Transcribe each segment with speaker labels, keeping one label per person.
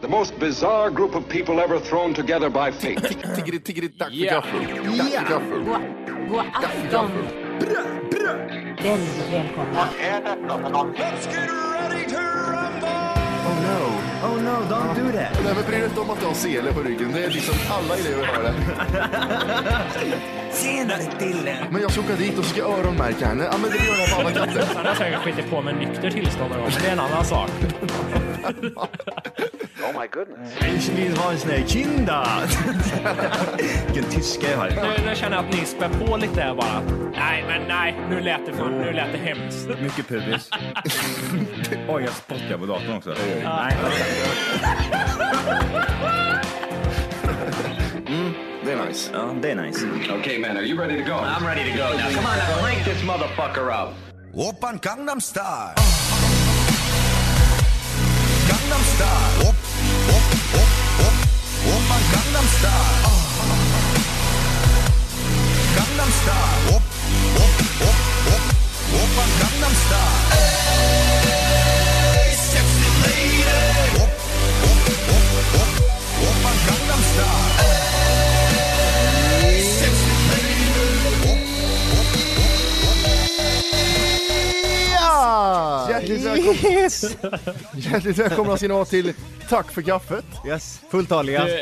Speaker 1: The most bizarre group of people ever thrown together by fate.
Speaker 2: Tiggeri, tiggeri, dags för
Speaker 3: Ja. Oh,
Speaker 2: gaffel. Dags för gaffel.
Speaker 4: God, god afton. Väldigt välkomna.
Speaker 5: Oh no, oh no, don't do that.
Speaker 2: Nej, men bry dig inte om att du har sele på ryggen. Det är liksom alla elever har det.
Speaker 5: Senare till den.
Speaker 2: Men jag ska åka dit och ska öronmärka henne. Ja, men det gör jag på alla katter.
Speaker 3: Han har säkert skitit på med nykter tillstånd någon gång, men det är en annan sak.
Speaker 5: Ich vill ha en sån här kinda. Vilken tyska jag har.
Speaker 3: Nu, nu känner jag att ni spär på lite här bara. Nej, men nej, nu lät det, för, nu lät det hemskt.
Speaker 6: Mycket pubis. Oj, jag spottar på datorn också. Nej.
Speaker 2: Det är nice.
Speaker 6: Ja, Mm. det är nice.
Speaker 1: okay, man, are you ready to go?
Speaker 7: I'm ready to go now. Come on, now crank this motherfucker up.
Speaker 8: Oppan Gangnam Style. Gangnam Style. Op, op, op, op. Oppan Gangnam Style. Gangnam Style. Op, op, op, op. Oppan Gangnam Style. Hey, sexy lady. Op, op, op, op. Oppan Gangnam Style. Hey, sexy lady. Op, op, op, op.
Speaker 2: Hjärtligt, välkom- Hjärtligt välkomna ska ni vara till Tack för kaffet.
Speaker 5: Yes, fulltaliga.
Speaker 3: Du, eh,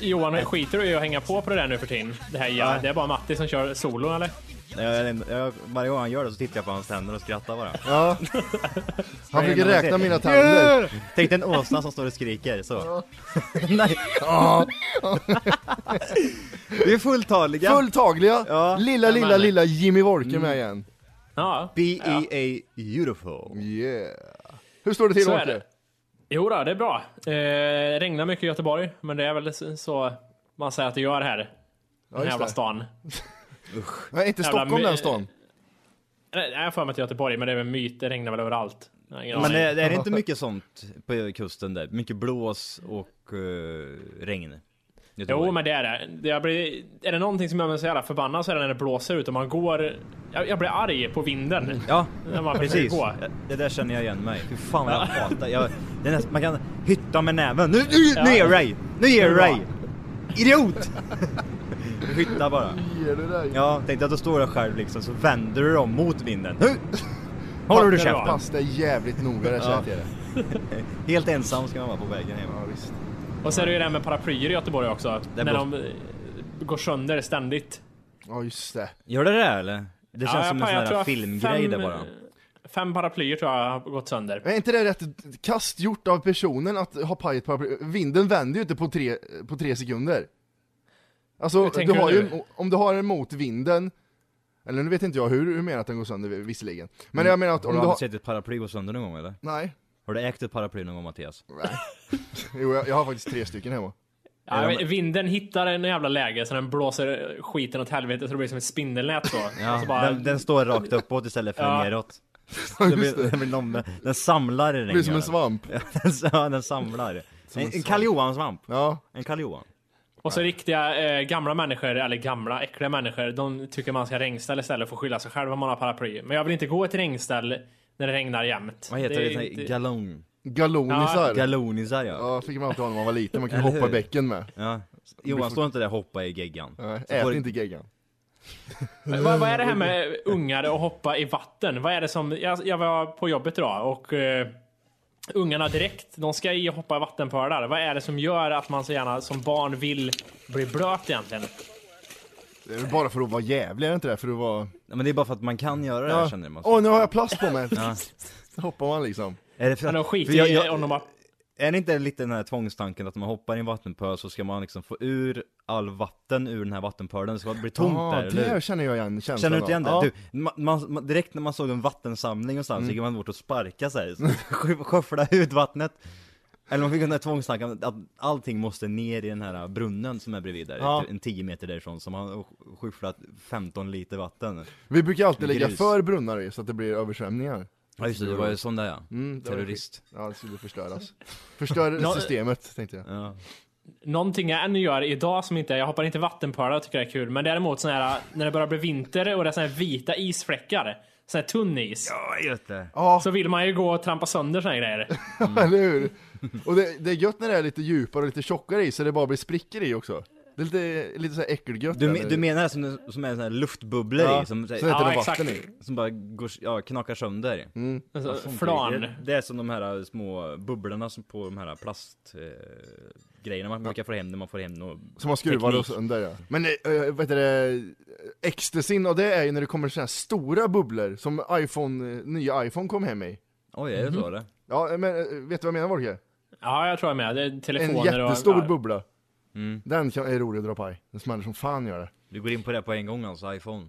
Speaker 3: Johan, skiter du i att hänga på på det där nu för tiden? Det, här, ja,
Speaker 5: Nej.
Speaker 3: det är bara Matti som kör solon eller?
Speaker 6: Jag, jag, varje gång han gör det så tittar jag på hans tänder och skrattar bara.
Speaker 2: Ja. Han försöker
Speaker 6: men-
Speaker 2: räkna mina tänder.
Speaker 6: Tänk dig en åsna som står och skriker så. Nej. Vi är fulltaliga.
Speaker 2: Fulltagliga,
Speaker 6: Ja.
Speaker 2: lilla, lilla,
Speaker 3: Jajamän.
Speaker 2: lilla Jimmy
Speaker 3: Mm.
Speaker 2: Wolke med igen.
Speaker 3: Ja,
Speaker 6: B-E-A E beautiful.
Speaker 2: Yeah. Hur står det till
Speaker 3: så är
Speaker 2: Wolke?
Speaker 3: det. Jo då, det är bra. Eh, regnar mycket i Göteborg, men det är väl så- så man säger att det gör här. Den
Speaker 2: just
Speaker 3: jävla
Speaker 2: det.
Speaker 3: stan.
Speaker 2: Nej, inte
Speaker 3: Jävla
Speaker 2: Stockholm
Speaker 3: my-
Speaker 2: den stan.
Speaker 3: Nej, Jag har för mig till Göteborg, men det är väl en myt. Det regnar väl överallt. Jag har ingen
Speaker 6: Men
Speaker 3: aning.
Speaker 6: är, är det inte mycket sånt på kusten där? Mycket blås och eh, regn?
Speaker 3: Jo, men det är det. Det- Jag blir, är det någonting som jag blir så jävla förbannad så är det när det blåser ut och man går... Jag, jag blir arg på vinden.
Speaker 6: Mm. Ja,
Speaker 3: När man försöker
Speaker 6: precis.
Speaker 3: gå.
Speaker 6: Det där känner jag igen mig. Fy fan vad jag hatar. Jag, det är nästan, man kan hytta med näven. Nu, nu, nu ger du dig! Nu ger du dig! Idiot! Hytta bara.
Speaker 2: Ger du dig?
Speaker 6: Ja, tänkte att du står där själv liksom så vänder du dig om mot vinden. Nu! Håller du
Speaker 3: Fattar du
Speaker 6: käften!
Speaker 3: vad?
Speaker 2: Pass dig jävligt noga där,
Speaker 6: Ja.
Speaker 2: säger jag till
Speaker 6: Helt ensam ska man vara på vägen hem.
Speaker 2: dig.
Speaker 3: Och så är det ju det här med paraplyer i Göteborg också.
Speaker 6: Det är
Speaker 3: när
Speaker 6: blå-
Speaker 3: de eh, går sönder ständigt.
Speaker 2: Ja, just det.
Speaker 6: Gör det det eller? Det känns som en
Speaker 3: fan,
Speaker 6: sån
Speaker 3: tror
Speaker 6: där
Speaker 3: jag
Speaker 6: filmgrej
Speaker 3: fem-
Speaker 6: där bara.
Speaker 3: Fem paraplyer tror jag har gått sönder.
Speaker 2: Men är inte det rätt kast gjort av personen att ha pajat paraply? Vinden vänder ju inte på tre, på tre sekunder. Alltså,
Speaker 3: Hur tänker
Speaker 2: du har
Speaker 3: du
Speaker 2: ju,
Speaker 3: nu?
Speaker 2: om du har den mot vinden, eller nu vet inte jag hur, hur menar att den går sönder visserligen. Men jag menar att om
Speaker 6: Mm. Har du
Speaker 2: du har...
Speaker 6: aldrig sett ett paraply gå sönder någon gång eller?
Speaker 2: Nej.
Speaker 6: Har du ägt ett paraply någon gång Mattias?
Speaker 2: Jo, jag, jag har faktiskt tre stycken hemma.
Speaker 3: Ja, men vinden hittar en jävla läge så den blåser skiten åt helvete så det blir som ett spindelnät så.
Speaker 6: Ja,
Speaker 3: och så bara,
Speaker 6: den, den står rakt uppåt istället för
Speaker 3: Ja.
Speaker 6: neråt. Den, blir, den, blir någon, den samlar i
Speaker 2: Det blir som en svamp.
Speaker 6: Ja, den, ja, den samlar. En, en
Speaker 2: svamp.
Speaker 6: Karl Johan-svamp.
Speaker 2: Ja.
Speaker 6: En Karl Johan.
Speaker 3: Och så riktiga eh, gamla människor, eller gamla äckliga människor, de tycker man ska ha regnställ istället och få skylla sig själv om man har paraply. Men jag vill inte gå till regnställ när det regnar jämt.
Speaker 6: Vad heter
Speaker 3: är
Speaker 6: det? det?
Speaker 3: inte-
Speaker 6: Galon...
Speaker 2: Galonisar. Ja,
Speaker 6: Galonisar ja.
Speaker 2: fick man alltid ha när man var liten. Man kunde
Speaker 6: Eller
Speaker 2: hoppa i
Speaker 6: hur?
Speaker 2: bäcken med.
Speaker 6: ja. Johan, står inte där och hoppa i geggan.
Speaker 2: Nej,
Speaker 6: Så får-
Speaker 2: Ät inte geggan.
Speaker 3: Men vad, vad är det här med ungar och hoppa i vatten? Vad är det som... Jag, jag var på jobbet idag och eh, ungarna direkt, de ska i och hoppa i vattenpölar. Vad är det som gör att man så gärna som barn vill bli blöt egentligen?
Speaker 2: Det är väl bara för att vara jävlig, är det inte det? För att vara...
Speaker 6: Ja, Men det är bara för att man kan göra det här känner man.
Speaker 2: Åh, nu har jag plast på mig! Så hoppar man liksom.
Speaker 6: Är det för
Speaker 3: Men de skiter
Speaker 6: för jag-
Speaker 3: i
Speaker 6: jag-
Speaker 3: om de har...
Speaker 6: Är det inte lite den här tvångstanken att när man hoppar i en vattenpöl så ska man liksom få ur all vatten ur den här vattenpölen, det ska bli tomt
Speaker 2: Ah,
Speaker 6: där eller hur?
Speaker 2: det känner jag igen känslan
Speaker 6: Känner du inte igen det?
Speaker 2: av. Ja.
Speaker 6: Du, man, man, man- direkt när man såg en vattensamling någonstans så gick man bort och sparka sig, så sk- sköffla ut vattnet Eller man fick den där tvångstanken att allting måste ner i den här brunnen som är bredvid där,
Speaker 2: Ja.
Speaker 6: en 10 meter därifrån som har skyfflat 15 liter vatten
Speaker 2: Vi brukar alltid lägga
Speaker 6: Grus.
Speaker 2: för brunnar i så att det blir översvämningar.
Speaker 6: Ja just det, det var ju sån där ja,
Speaker 2: Mm, det var ju
Speaker 6: terrorist
Speaker 2: skit. Ja, det skulle förstöras. Förstör
Speaker 3: Nå-
Speaker 2: systemet, tänkte jag.
Speaker 6: ja.
Speaker 3: Någonting jag ännu gör idag som inte... Jag hoppar inte i vattenpölar och tycker det är kul. Men däremot sån här, när det börjar bli vinter och det är såna här vita isfläckar. Sån här tunn is.
Speaker 6: Ja just det
Speaker 2: Ja,
Speaker 3: Så vill man ju gå och trampa sönder såna här grejer.
Speaker 2: eller hur? Och det, det är gött när det är lite djupare och lite tjockare i så det bara blir sprickor i också. Det är lite, lite såhär äckelgött.
Speaker 6: Du,
Speaker 2: där.
Speaker 6: me- du menar det som, som är en sån här luftbubblor
Speaker 2: Ja,
Speaker 6: i, som,
Speaker 2: så
Speaker 6: säger-
Speaker 2: heter det
Speaker 3: Ja,
Speaker 2: vatten
Speaker 3: exakt.
Speaker 2: i.
Speaker 6: som bara går, ja, knakar sönder.
Speaker 3: Alltså,
Speaker 6: Sånt
Speaker 3: flan.
Speaker 6: Det, det är som de här eh, små bubblorna som på de här plastgrejerna eh, grejerna man brukar få hem när man får hem något.
Speaker 2: Som man skruvar och
Speaker 6: Teknik.
Speaker 2: sönder ja. Men äh, vad heter det, ecstasyn och det är ju när det kommer sådana här stora bubblor som iPhone, eh, nya iPhone kom hem i.
Speaker 6: Oj, är det
Speaker 2: Mhm.
Speaker 6: så det?
Speaker 2: Ja men eh, vet du vad jag menar Volke?
Speaker 3: Ja, jag tror jag med. Det är
Speaker 2: En
Speaker 3: telefoner
Speaker 2: jättestor
Speaker 3: och... ja. Mm.
Speaker 2: bubbla. Den kan, är rolig att dra paj. Den smäller som fan gör det.
Speaker 6: Du går in på det på en gång alltså, iPhone?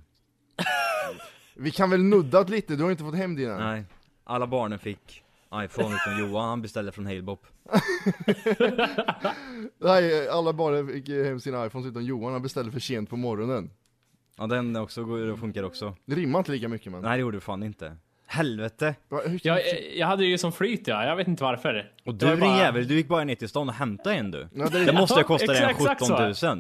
Speaker 2: Vi kan väl nuddat lite, du har inte fått hem dina.
Speaker 6: Nej. Alla barnen fick iPhone utom Johan, han beställde från Halebop.
Speaker 2: Nej, alla bara fick hem sina iPhones utan Johan, han beställde för sent på morgonen.
Speaker 6: Ja den också går, funkar också.
Speaker 2: Det rimmar inte lika mycket men.
Speaker 6: Nej det gjorde du fan inte. Helvete!
Speaker 2: Va, hur-
Speaker 3: Jag, jag hade ju som flyt, ja. Jag vet inte varför.
Speaker 6: Och
Speaker 3: Det
Speaker 6: du
Speaker 3: var
Speaker 6: din
Speaker 3: bara-
Speaker 6: jävel, du gick bara ner till stan och hämtade en du.
Speaker 2: Ja, det-
Speaker 6: det, måste ha
Speaker 3: Ja,
Speaker 6: kostat dig en
Speaker 3: exakt, exakt
Speaker 6: 17 000.
Speaker 3: så.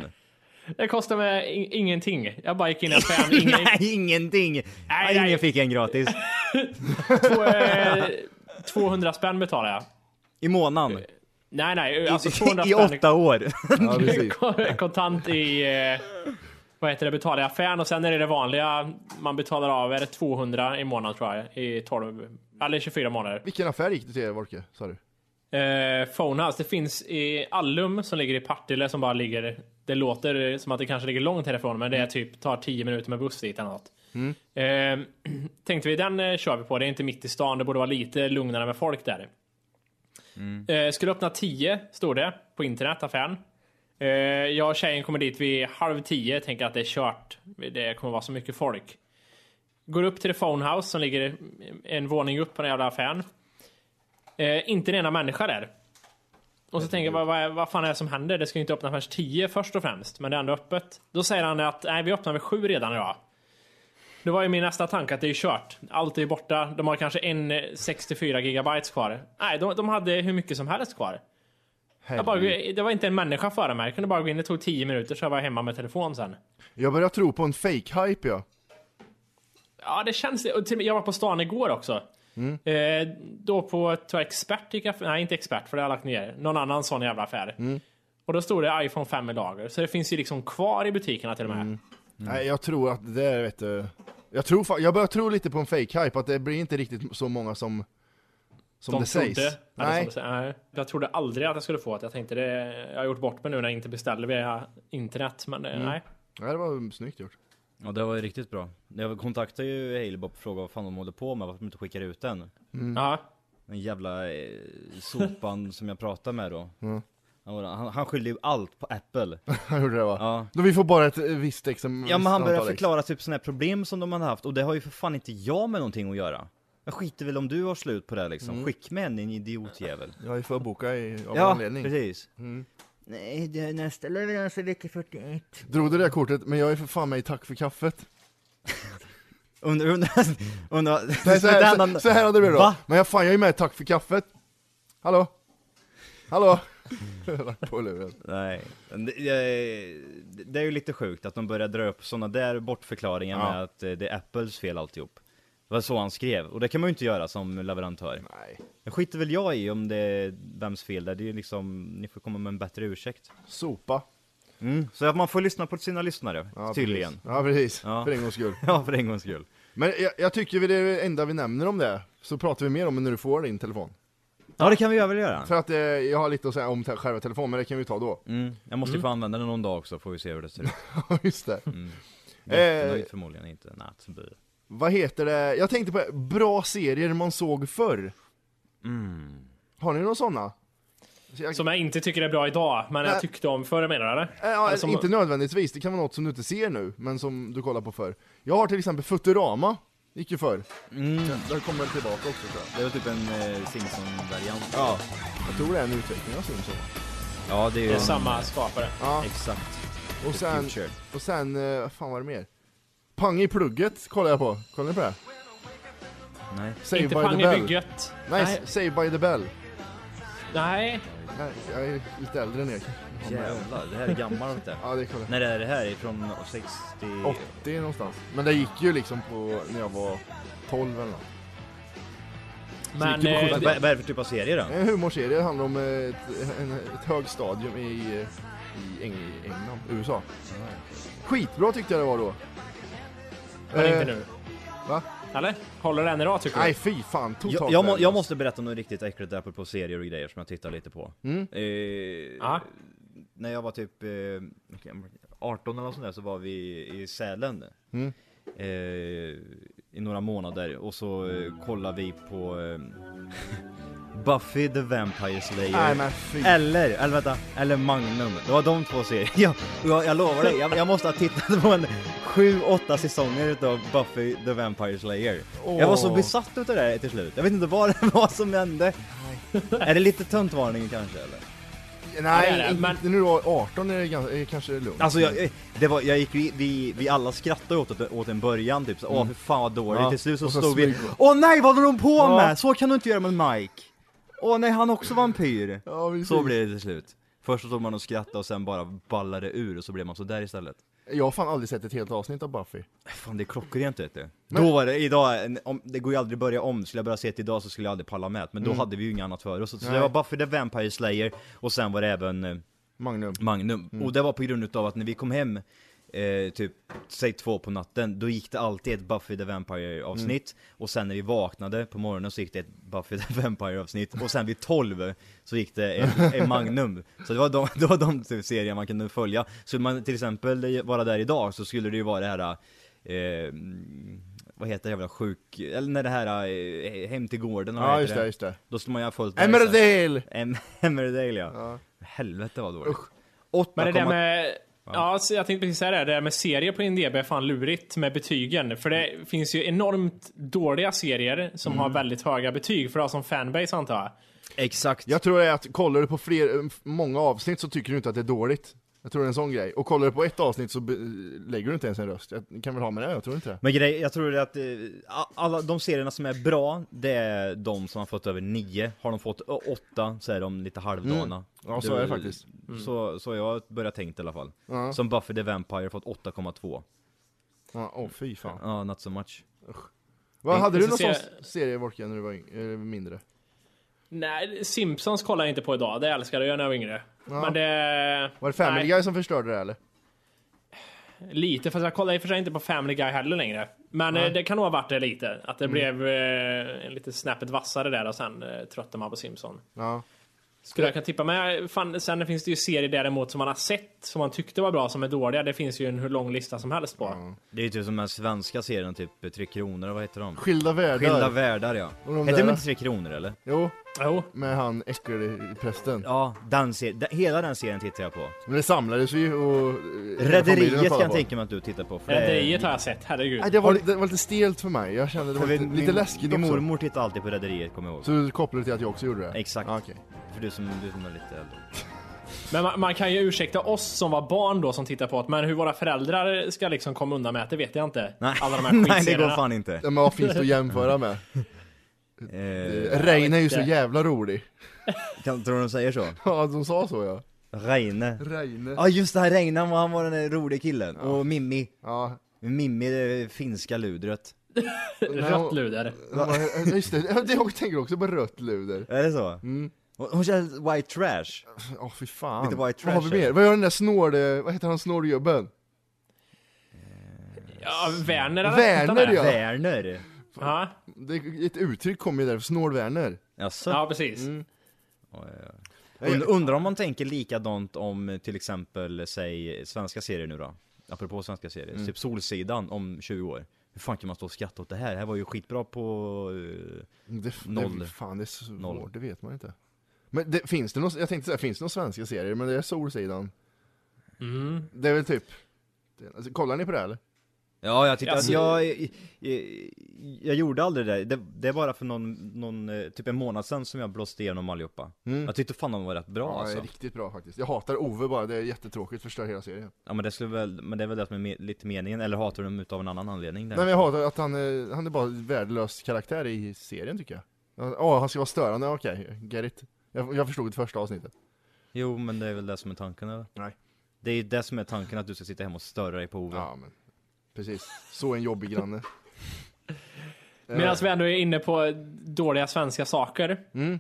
Speaker 3: Det kostade mig in- ingenting. Jag bara gick in i affären. Ingen,
Speaker 6: Nej ingenting! Nej,
Speaker 3: Nej, nej.
Speaker 6: ingen fick en gratis.
Speaker 3: två, eh, 200 spänn betalade jag.
Speaker 6: I månaden.
Speaker 3: Nej, nej. Alltså
Speaker 6: I,
Speaker 3: 200
Speaker 6: I
Speaker 3: spänn.
Speaker 6: åtta år.
Speaker 2: Ja, precis.
Speaker 3: kontant i... Eh, vad heter det? Betala i affären och sen är det det vanliga man betalar av. Är det 200 i månaden tror jag? I 12... Eller 24 månader.
Speaker 2: Vilken affär gick du till Volke? Sa du?
Speaker 3: Eh, Phonehouse. Det finns i Allum som ligger i Partille som bara ligger... Det låter som att det kanske ligger långt härifrån men det är typ tar 10 minuter med buss dit eller något. Eh, tänkte vi den eh, kör vi på. Det är inte mitt i stan. Det borde vara lite lugnare med folk där. Eh, skulle öppna 10 stod det på internet, affären. Eh, jag och tjejen kommer dit vid halv 10. Tänker att det är kört. Det kommer vara så mycket folk. Går upp till The Phone House som ligger en våning upp på den jävla affären. Eh, inte en enda människa där. Och så tänker jag, vad, vad, är- vad fan är det som händer? Det ska ju inte öppna förrän 10 först och främst, men det är ändå öppet. Då säger han att, nej vi öppnar vid 7 redan idag. Det var ju min nästa tanke att det är kört. Allt är ju borta. De har kanske en eh, 64 gigabytes kvar. Nej, de, de hade hur mycket som helst kvar. Jag bara,
Speaker 2: Herregud.
Speaker 3: det var inte en människa före mig. Jag kunde bara gå in, det tog 10 minuter så jag var hemma med telefon sen.
Speaker 2: Jag börjar tro på en fake hype ja.
Speaker 3: Ja, det känns det. Och till och med- Jag var på stan igår också.
Speaker 2: Mm.
Speaker 3: Eh, då på, tror jag, Expert gick affär, Nej, inte Expert, för det har jag lagt ner. Någon annan sån jävla affär.
Speaker 2: Mm.
Speaker 3: Och då stod det iPhone 5 i lager. Så det finns ju liksom kvar i butikerna till och med.
Speaker 2: Mm.
Speaker 3: Mm.
Speaker 2: Nej jag tror att det är, vet du. Jag tror fa- jag börjar tro lite på en fake hype att det blir inte riktigt så många som som
Speaker 3: De
Speaker 2: det
Speaker 3: trodde,
Speaker 2: sägs.
Speaker 3: eller Som
Speaker 2: Nej.
Speaker 3: det, sägs, nej. Jag trodde aldrig att jag skulle få det. Jag tänkte, det, jag har gjort bort mig nu när jag inte beställde via internet. Men
Speaker 2: Mm.
Speaker 3: eh, nej.
Speaker 2: Nej, det var snyggt gjort.
Speaker 6: Ja det var ju riktigt bra. Jag kontaktade ju Halebop och frågade vad fan de håller på med, varför de inte skickar ut den.
Speaker 2: Mm.
Speaker 3: Ja.
Speaker 6: Den jävla eh, sopan som jag pratade med då.
Speaker 2: Mm.
Speaker 6: Han, var- han, han skyllde ju allt på Apple.
Speaker 2: Han gjorde det va?
Speaker 6: Ja.
Speaker 2: Då vi får bara ett eh, visst exempel.
Speaker 6: Ja men han började förklara typ sådana här problem som de hade haft och det har ju för fan inte jag med någonting att göra. Jag skiter väl om du har slut på det här, liksom. Skicka med en din idiotjävel.
Speaker 2: Jag är förboka i, Mm. av
Speaker 6: Ja,
Speaker 2: anledning.
Speaker 6: precis.
Speaker 9: Nej, det är nästa leverans är vecka 41.
Speaker 2: Drog du det där kortet? Men jag är för fan mig tack för kaffet.
Speaker 6: Undrar, undrar, undrar.
Speaker 2: Nej, så, här, så, så här hade det blivit då.
Speaker 6: Va?
Speaker 2: Men jag, fan, jag är med, tack för kaffet. Hallå? Hallå? Jag har lagt på luren.
Speaker 6: Nej, det, jag- det är ju lite sjukt att de börjar dra upp sådana där bortförklaringar
Speaker 2: Ja.
Speaker 6: med att eh, det är Apples fel alltihop. Det var så han skrev, och det kan man ju inte göra som leverantör.
Speaker 2: Nej,
Speaker 6: Det skiter väl jag i om det är vems fel det är, det är ju liksom, ni får komma med en bättre ursäkt.
Speaker 2: sopa.
Speaker 6: Mm. Så att man får lyssna på sina lyssnare,
Speaker 2: Ja,
Speaker 6: tydligen.
Speaker 2: Precis. Ja, precis.
Speaker 6: Ja.
Speaker 2: För en gångs skull.
Speaker 6: Ja, för en gångs skull.
Speaker 2: Men jag, jag tycker vi det är det enda vi nämner om det, så pratar vi mer om det när du får din telefon.
Speaker 6: Ja, det kan vi väl göra.
Speaker 2: För att eh, jag har lite att säga om te- själva telefonen, men det kan vi ta då.
Speaker 6: Mm. Jag måste ju få använda den någon dag också, får vi se hur det ser ut.
Speaker 2: Ja, Just det.
Speaker 6: Mm.
Speaker 2: Eh,
Speaker 6: Jättenöjd förmodligen inte. Nej, så blir det.
Speaker 2: Vad heter det? Jag tänkte på bra serier man såg förr.
Speaker 6: Mm.
Speaker 2: Har ni några Eh, sådana? Så jag-
Speaker 3: Som jag inte tycker är bra idag, men jag
Speaker 2: Nej.
Speaker 3: tyckte om förr menar du eller? Alltså,
Speaker 2: Eh, Ja,
Speaker 6: Alltså,
Speaker 3: Eller som-
Speaker 2: inte nödvändigtvis, det kan vara något som du inte ser nu, men som du kollar på förr. Jag har till exempel Futurama, gick ju förr.
Speaker 6: Mm.
Speaker 2: Den kommer väl tillbaka också tror jag.
Speaker 6: Det var typ en eh, Simpson-variant.
Speaker 2: Ja. Jag tror det är en utveckling av Simpsons.
Speaker 6: Ja, det är ju...
Speaker 3: Det är samma skapare.
Speaker 2: Ja,
Speaker 6: Exakt. typ
Speaker 2: och sen,
Speaker 6: Future.
Speaker 2: och sen, eh, fan var det mer? Pang i plugget kollar jag på, kollar ni på det?
Speaker 6: Nej.
Speaker 2: Save
Speaker 3: inte
Speaker 2: by
Speaker 3: pang
Speaker 2: the
Speaker 3: i
Speaker 2: bell.
Speaker 3: bygget.
Speaker 2: Nej,
Speaker 3: Nej.
Speaker 2: Save by the bell.
Speaker 3: Nej.
Speaker 2: Nej, jag är lite äldre än er.
Speaker 6: Jävlar, det här är gammalt det.
Speaker 2: Ja, det kollar jag.
Speaker 6: När är det här? Ifrån 60...
Speaker 2: 80 någonstans. Men det gick ju liksom på när jag var 12 eller något.
Speaker 3: Men
Speaker 2: Trycker på
Speaker 3: eh,
Speaker 2: skjortan.
Speaker 6: Vad vad är det för typ av serie då?
Speaker 2: En humorserie det handlar om eh, ett, en, ett högstadium i, eh, i Eng- England, USA. Skitbra tyckte jag det var då.
Speaker 3: men
Speaker 2: Eh,
Speaker 3: inte nu.
Speaker 2: va?
Speaker 3: Eller? Håller den idag tycker
Speaker 2: Nej
Speaker 3: du?
Speaker 2: fy fan,
Speaker 6: Jag,
Speaker 2: totalt
Speaker 6: jag, må, jag
Speaker 2: värdelös.
Speaker 6: måste berätta något riktigt äckligt där på serier och grejer som jag tittar lite på. Eh,
Speaker 3: Ja.
Speaker 6: när jag var typ eh, okej, 18 eller något sånt där så var vi i Sälen
Speaker 2: Mm.
Speaker 6: eh, I några månader och så eh, kollade vi på eh, Buffy the Vampire Slayer
Speaker 2: Nej men fy.
Speaker 6: Eller, eller vänta, eller Magnum Det var de två serierna, jag, jag, jag lovar dig, jag, jag måste ha tittat på en 7-8 säsonger utav Buffy the Vampire Slayer Jag var så
Speaker 2: Åh.
Speaker 6: besatt utav det här till slut, jag vet inte vad det var som hände Är det lite töntvarning kanske eller?
Speaker 3: Ja, det är
Speaker 2: Nej,
Speaker 3: det,
Speaker 2: inte
Speaker 3: men-
Speaker 2: när du var 18 är det ganska, är kanske det är lugnt.
Speaker 6: Alltså jag, det var, jag gick, vi, vi, vi alla skrattade åt, det- åt en början typ, så, åh hur fan vad dåligt,
Speaker 2: Mm. Ja,
Speaker 6: till slut så
Speaker 2: och så
Speaker 6: stod vi
Speaker 2: smyg-
Speaker 6: Åh nej vad håller de på
Speaker 2: Ja.
Speaker 6: med? Så kan du inte göra med Mike! Åh nej han är också vampyr!
Speaker 2: Ja, precis.
Speaker 6: så blev det till slut Först så stod man och skrattade och sen bara ballade det ur och så blev man så där istället
Speaker 2: Jag har fan aldrig sett ett helt avsnitt av Buffy.
Speaker 6: Fan det är klockrent vet du Då var det, idag, en- om, det går ju aldrig att börja om, skulle jag börja se det idag så skulle jag aldrig palla med det, Men då hade vi ju inget annat för oss, så, så det
Speaker 2: Mm. Nej.
Speaker 6: var Buffy the Vampire Slayer och sen var det även eh,
Speaker 2: Magnum.
Speaker 6: Magnum.
Speaker 2: Mm.
Speaker 6: Och det var på grund utav att när vi kom hem, eh, typ, säg två på natten, då gick det alltid ett Buffy the Vampire avsnitt.
Speaker 2: Mm.
Speaker 6: Och sen när vi vaknade på morgonen så gick det ett Buffy the Vampire avsnitt. Och sen vid tolv så gick det ett, ett Magnum. Så det var de, det var de typ serier man kunde följa. Skulle man till exempel eh, vara där idag så skulle det ju vara det här eh, vad heter det jävla sjuk... Eller när det här, eh, Hem till gården eller vad
Speaker 2: Ja
Speaker 6: heter
Speaker 2: just det, just det.
Speaker 6: Då skulle man ju ha följt det här sen.
Speaker 2: Emmerdale!
Speaker 6: Em- Emmerdale ja. Helvete vad dåligt.
Speaker 2: Usch.
Speaker 3: Men det där
Speaker 6: 8,3
Speaker 3: med... Ja, så jag tänkte precis säga det. Det där med serier på IMDB är fan lurigt med betygen. För det finns ju enormt dåliga serier som
Speaker 2: Mm.
Speaker 3: har väldigt höga betyg för att ha som fanbase antar jag.
Speaker 6: Exakt.
Speaker 2: Jag tror det är att kollar du på fler, m- många avsnitt så tycker du inte att det är dåligt. Jag tror det är en sån grej. Och kollar du på ett avsnitt så be- lägger du inte ens en röst. Jag kan väl ha med det, jag tror inte det.
Speaker 6: Men grej, jag tror att eh, a- alla de serierna som är bra, det är de som har fått över 9. Har de fått ö, 8 så är de lite halvdana.
Speaker 2: Mm. Ja, så är det faktiskt. Mm.
Speaker 6: Så, så jag har börjat tänkt i alla fall.
Speaker 2: Ja.
Speaker 6: Som Buffy the Vampire fått 8,2.
Speaker 2: Åh ah, oh, fy fan.
Speaker 6: Ja, not so much.
Speaker 2: Vad, hade du någon
Speaker 3: Så
Speaker 2: sån
Speaker 3: ser-
Speaker 2: serie Wolke, när du var yng- eller mindre?
Speaker 3: Nej, Simpsons kollar jag inte på idag. Det älskade jag när jag var yngre. Men det...
Speaker 2: Var det Family
Speaker 3: nej,
Speaker 2: Guy som förstörde det eller?
Speaker 3: Lite, fast jag kollar i och för sig inte på Family Guy heller längre. Men eh, det kan nog ha varit det lite. Att det
Speaker 2: Mm.
Speaker 3: blev eh, en lite snäppet vassare där och sen eh, tröttnade man på Simpson.
Speaker 2: Ja.
Speaker 3: Skulle jag kunna tippa med. Fan, sen finns det ju serier däremot som man har sett som man tyckte var bra som är dåliga. Det finns ju en hur lång lista som helst på.
Speaker 6: Det är ju typ som den svenska serien, typ Tre Kronor, vad heter de?
Speaker 2: Skilda världar.
Speaker 6: Skilda Världar ja.
Speaker 2: Och de
Speaker 6: Heter
Speaker 2: där-
Speaker 6: de inte Tre Kronor eller?
Speaker 2: Jo,
Speaker 3: Jo, Eh,
Speaker 2: med han äckelprästen.
Speaker 6: Ja, den serien, hela den serien tittar jag på.
Speaker 2: Men det samlades vi och...
Speaker 6: Rederiet kan jag tänka mig att du tittar på. för det är-
Speaker 3: Rederiet har jag sett, herregud.
Speaker 2: Nej, det var, det var lite stelt för mig. Jag kände det var
Speaker 6: För
Speaker 2: lite,
Speaker 6: min-
Speaker 2: lite läskigt
Speaker 6: Min
Speaker 2: också.
Speaker 6: mormor tittade alltid på Rederiet, kommer jag ihåg.
Speaker 2: Så du kopplade till att jag också gjorde det?
Speaker 6: Exakt.
Speaker 2: Ah, okej.
Speaker 6: För du som, du som är lite äldre.
Speaker 3: Men man, man kan ju ursäkta oss som var barn då som tittar på det. Men hur våra föräldrar ska liksom komma undan med det vet jag inte. Alla de här
Speaker 6: Nej, det går
Speaker 3: skitserierna.
Speaker 6: fan inte.
Speaker 2: Ja, men vad finns det att jämföra med?
Speaker 6: Eh,
Speaker 2: Reine är ju så
Speaker 3: inte.
Speaker 2: jävla rolig.
Speaker 6: kan, tror du de säger så?
Speaker 2: Ja, de sa så ja.
Speaker 6: Reine.
Speaker 2: Reine.
Speaker 6: Ja just det, här Reine, han var, han var den där roliga killen. Och Mimmi.
Speaker 2: Ja.
Speaker 6: Mimmi, det finska ludret.
Speaker 3: Rött luder.
Speaker 2: Ja, Just det, Ja, det- jag tänker också på rött luder.
Speaker 6: Är det så?
Speaker 2: Mm.
Speaker 6: Hon, hon känner white trash.
Speaker 2: Åh fy fan.
Speaker 6: Lite white
Speaker 2: vad har vi
Speaker 6: trash,
Speaker 2: mer?
Speaker 6: ja.
Speaker 2: Vad gör den där snål... eh, Vad heter han snålgubben?
Speaker 3: Ja, Werner eller?
Speaker 2: Werner,
Speaker 3: Utan det.
Speaker 2: Ja.
Speaker 6: Werner.
Speaker 3: ja.
Speaker 2: Det, ett uttryck kommer ju där, snål-Werner.
Speaker 6: Jaså?
Speaker 3: Ja, precis.
Speaker 6: Mm. Und, undrar om man tänker likadant om eh, till exempel, säg svenska serier nu då? Apropå svenska serier,
Speaker 2: Mm.
Speaker 6: typ Solsidan om 20 år. Hur fan kan man stå och skratta åt det här? Det här var ju skitbra på... eh,
Speaker 2: Det,
Speaker 6: Noll.
Speaker 2: Det, fan det är svårt,
Speaker 6: Noll.
Speaker 2: det vet man inte. Men det, finns det någon, jag tänkte säga, finns det några svenska serier? Men det är Solsidan. Det är väl typ... det- Alltså, kollar ni på det här, eller?
Speaker 6: Ja, jag tyckte
Speaker 3: Alltså-
Speaker 6: att jag, jag, jag, jag gjorde aldrig det. det Det är bara för någon, någon, eh, typ en månad sedan som jag blåste igenom allihopa Jag tyckte fan de var rätt bra
Speaker 2: Mm. Ja, det är
Speaker 6: alltså.
Speaker 2: riktigt bra faktiskt. Jag hatar Ove bara, det är jättetråkigt, förstör hela serien.
Speaker 6: Ja men det skulle väl, men det är väl det som är me- lite meningen, eller hatar du dem utav en annan anledning där?
Speaker 2: Nej men jag hatar att han är, han är bara en värdelös karaktär i serien tycker jag. Ja, Åh, han ska vara störande, okej, get it. Jag, jag förstod det första avsnittet.
Speaker 6: Jo men det är väl det som är tanken eller?
Speaker 2: Nej.
Speaker 6: Det är ju det som är tanken, att du ska sitta hemma och störa dig på Ove
Speaker 2: Ja men, precis. Så en jobbig granne.
Speaker 3: Medan vi ändå är inne på dåliga svenska saker.
Speaker 6: Mm.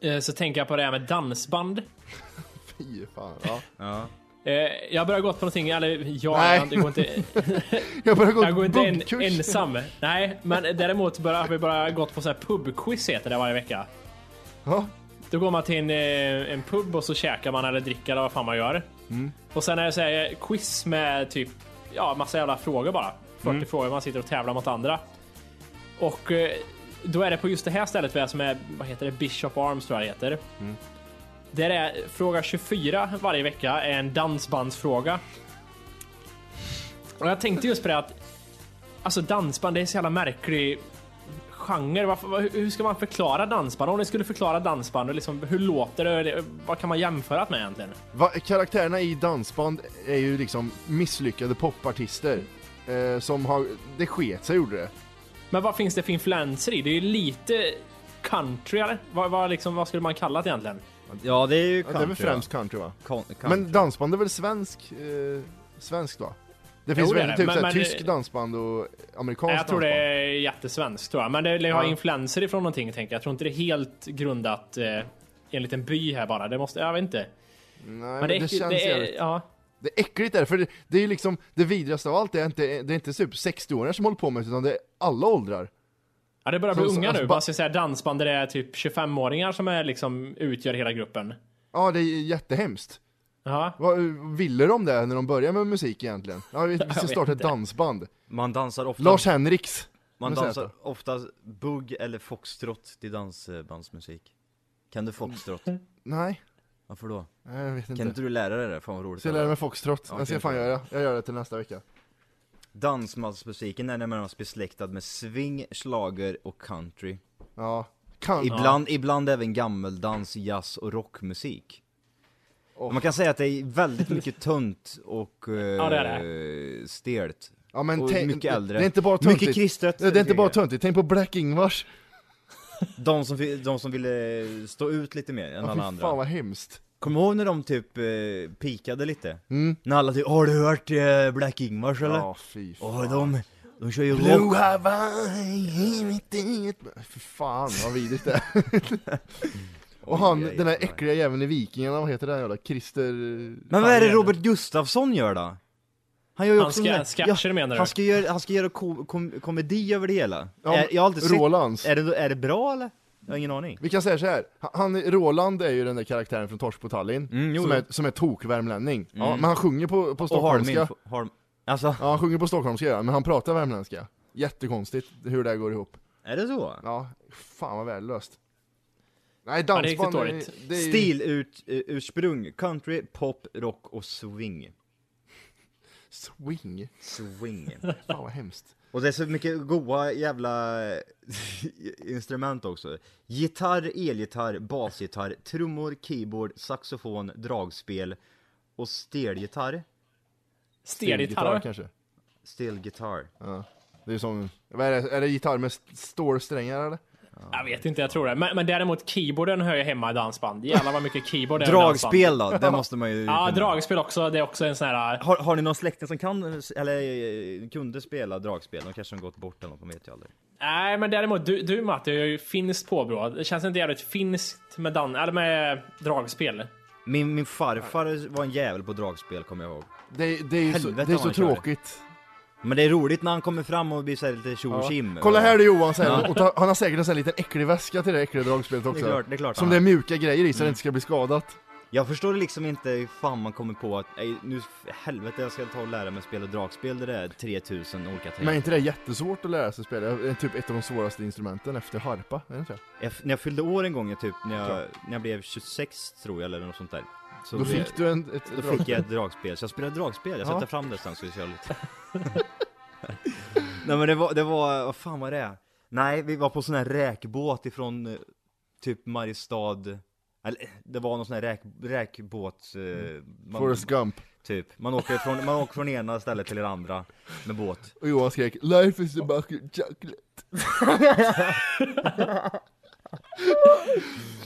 Speaker 3: eh, Så tänker jag på det här med dansband.
Speaker 2: Fy fan. Ja.
Speaker 3: Eh, Jag börjar gått på någonting, eller jag,
Speaker 2: Nej.
Speaker 3: jag, det går inte,
Speaker 2: Jag börjar gå
Speaker 3: jag går inte en,
Speaker 2: buggkurs.
Speaker 3: ensam. Nej, men däremot börjar, har vi bara gått på så här pubquiz heter det varje vecka.
Speaker 2: Ja.
Speaker 3: Då går man till en, eh, en pub och så käkar man eller dricker eller vad fan man gör. Och sen är det så här quiz med typ, ja massa jävla frågor bara. 40 frågor man sitter och tävlar mot andra. Och eh, då är det på just det här stället vi är som är, vad heter det, Bishop Arms tror jag det heter. Där är fråga 24 varje vecka är en dansbandsfråga. Och jag tänkte just på det att, alltså dansband det är så jävla märklig genre? Varför, vad- hur ska man förklara dansband? Om ni skulle förklara dansband, och liksom, hur låter det? Vad kan man jämföra det med egentligen?
Speaker 2: Va, karaktärerna i dansband är ju liksom misslyckade popartister. Eh, som har... Det sket sig gjorde det.
Speaker 3: Men vad finns det för influenser i? Det är ju lite country, eller? Vad, vad, liksom, vad skulle man kalla det egentligen?
Speaker 6: Ja det är ju
Speaker 2: Ja, det är väl
Speaker 6: country,
Speaker 2: främst country va?
Speaker 6: Kon- country.
Speaker 2: Men dansband är väl svensk? Eh, svenskt va? Det finns
Speaker 3: Jo, det är
Speaker 2: väl
Speaker 3: det,
Speaker 2: typ
Speaker 3: men-
Speaker 2: såhär
Speaker 3: men-
Speaker 2: tysk dansband och amerikansk
Speaker 3: jag tror det
Speaker 2: dansband?
Speaker 3: är jättesvenskt, tror jag. Men det, det har influenser ifrån någonting, tänker jag. Jag tror inte det är helt grundat eh, i en liten by här bara. Det måste, jag vet inte.
Speaker 2: Nej,
Speaker 3: Men
Speaker 2: men det, känns
Speaker 3: det
Speaker 2: jävligt...
Speaker 3: är, ja.
Speaker 2: Det är äckligt där, för det, det är ju liksom det vidrigaste av allt, det är inte, det är inte typ 60-åringar som håller på med det, utan det är alla åldrar.
Speaker 3: ja, det börjar bli
Speaker 2: Så- så-
Speaker 3: unga
Speaker 2: alltså,
Speaker 3: nu.
Speaker 2: ba-
Speaker 3: Man ska säga dansband där det är typ 25-åringar som är, liksom, utgör hela gruppen.
Speaker 2: Ja, det är jättehemskt.
Speaker 3: Ja.
Speaker 2: Vad ville de det när de började med musik egentligen? Ja, vi, vi ska
Speaker 3: vet
Speaker 2: starta ett
Speaker 3: inte.
Speaker 2: dansband.
Speaker 6: Man dansar ofta,
Speaker 2: Lars Henriks.
Speaker 6: man
Speaker 2: nu säger
Speaker 6: dansar ofta bugg eller foxtrot till dansbandsmusik Kan du foxtrot?
Speaker 2: Nej,
Speaker 6: Varför då?
Speaker 2: nej, jag vet Mm. inte.
Speaker 6: Kan inte du lära dig det? Fan vad roligt
Speaker 2: Ska jag lära mig foxtrot?
Speaker 6: Ja,
Speaker 2: jag ska
Speaker 6: okej,
Speaker 2: fan
Speaker 6: okej.
Speaker 2: göra. Jag gör det till nästa vecka.
Speaker 6: Dansbandsmusiken är närmast besläktad med swing, schlager och country
Speaker 2: Ja. Kan...
Speaker 6: Ibland, ibland även gammeldans, jazz och rockmusik
Speaker 2: Och-
Speaker 6: Man kan säga att det är väldigt mycket tunt och eh,
Speaker 3: det
Speaker 6: stelt
Speaker 2: Ja, men
Speaker 6: och
Speaker 2: tänk-
Speaker 6: mycket äldre
Speaker 2: Det är inte bara töntigt.
Speaker 6: Mycket kristet
Speaker 2: Det är inte bara
Speaker 6: tycker jag.
Speaker 2: töntigt. Tänk på Black-Ingvars.
Speaker 6: de som, fi- de som ville stå ut lite mer än
Speaker 2: Ja, fy
Speaker 6: alla
Speaker 2: fan
Speaker 6: andra
Speaker 2: vad hemskt.
Speaker 6: Kommer du ihåg när de typ eh, pikade lite? När alla typ 'Har du hört eh, Black Ingvars eller?'
Speaker 2: Mm. Ja, fy fan.
Speaker 6: Åh, de, de kör ju
Speaker 2: Blue
Speaker 6: rock
Speaker 2: Hawaii, everything it- Fy fan vad vidrigt det är. Och han,
Speaker 6: Oj, oj,
Speaker 2: den där
Speaker 6: oj.
Speaker 2: äckliga jäveln i Vikingarna, vad heter det där jävla Christer...
Speaker 6: Men vad är det
Speaker 3: Fan,
Speaker 6: Robert Gustafsson gör då? Han gör ju
Speaker 3: Han
Speaker 6: också
Speaker 3: ska-
Speaker 6: sån här-
Speaker 3: sketcher, menar du?
Speaker 6: Han ska göra, han ska göra ko, kom, komedi över det hela
Speaker 2: Ja,
Speaker 6: Är- Eh, Jag har aldrig sett, Eh,
Speaker 2: Rolands.
Speaker 6: är det, är det bra eller? Jag har ingen aning
Speaker 2: Vi kan säga så här. Han- han, Roland är ju den där karaktären från Torsk på Tallinn,
Speaker 6: Mm, jo,
Speaker 2: som,
Speaker 6: jo. Mm.
Speaker 2: är, som är tokvärmlänning. Ja, men han sjunger på, på
Speaker 6: Och har
Speaker 2: stockholmska.
Speaker 6: har, Alltså,
Speaker 2: Ja, han sjunger på stockholmska, ja, men han pratar värmländska. Jättekonstigt hur det här går ihop.
Speaker 6: är det så?
Speaker 2: Ja, fan vad värdelöst. Nej,
Speaker 3: det är riktigt
Speaker 2: dansband är,
Speaker 3: dåligt.
Speaker 2: det är ju-
Speaker 6: Stilurt, eh, ursprung, country, pop, rock och swing
Speaker 2: Swing.
Speaker 6: Swing
Speaker 2: Fan vad hemskt.
Speaker 6: Och det är så mycket goa jävla eh, instrument också. Gitarr, elgitarr, basgitarr, trummor, keyboard, saxofon, dragspel och stelgitarr.
Speaker 3: Stelgitarr.
Speaker 2: kanske.
Speaker 6: Stelgitarr.
Speaker 2: Det är som, vad är det, är det gitarr med st- stålsträngar eller?
Speaker 3: Jag vet inte, jag tror det. Men, men däremot keyboarden hör ju hemma i dansband. Jävlar vad mycket keyboard det är i dansband.
Speaker 6: Dragspel då, det måste man
Speaker 3: Ja,
Speaker 6: ju kunna.
Speaker 3: dragspel också. Det är också en sån här...
Speaker 6: Har, har ni någon släkting som kan, eller eh, kunde spela dragspel? De kanske har gått bort eller något, man vet ju aldrig.
Speaker 3: Nej, men däremot du, du Matti, har ju finskt påbrå. Det känns inte jävligt finskt med, dan- eller med dragspel.
Speaker 6: Min, min farfar var en jävel på dragspel kommer jag ihåg.
Speaker 2: Det, det är ju så,
Speaker 6: Helvete
Speaker 2: det är
Speaker 6: vad
Speaker 2: så
Speaker 6: han körde.
Speaker 2: tråkigt.
Speaker 6: Men det är roligt när han kommer fram och blir såhär lite tjo och tjim.
Speaker 2: Kolla här du Johan säger
Speaker 6: Ja.
Speaker 2: och ta, han har säkert en sån här liten äcklig väska till det äckliga dragspelet också.
Speaker 6: klart, det är klart Mm.
Speaker 2: som
Speaker 6: han
Speaker 2: det är
Speaker 6: har.
Speaker 2: mjuka grejer i så det inte ska bli skadat.
Speaker 6: Jag förstår liksom inte hur fan man kommer på att, nej nu helvete jag ska ta och lära mig att spela dragspel, det där är 3000 olika
Speaker 2: Men är
Speaker 6: tangenter.
Speaker 2: inte det jättesvårt att lära sig spela? Det är typ ett av de svåraste instrumenten efter harpa, är det inte det?
Speaker 6: Jag, när jag fyllde år en gång, jag typ, när jag, när jag blev 26 tror jag eller något sånt där. Så
Speaker 2: Då
Speaker 6: blev-
Speaker 2: fick du en, ett
Speaker 6: då
Speaker 2: drag-
Speaker 6: fick jag ett dragspel, så jag spelade dragspel, jag ska
Speaker 2: Ja.
Speaker 6: ta fram det sen så vi kör lite. nej men det var, det var, vad fan var det? Nej, vi var på sån här räkbåt ifrån eh, typ Mariestad, eller det var någon sån här räk, räkbåt... Eh, man-
Speaker 2: Mm. Forrest Gump.
Speaker 6: Typ, man åker från, man åker från ena stället till det andra med båt
Speaker 2: Och Johan skrek 'Life is a bucket chocolate'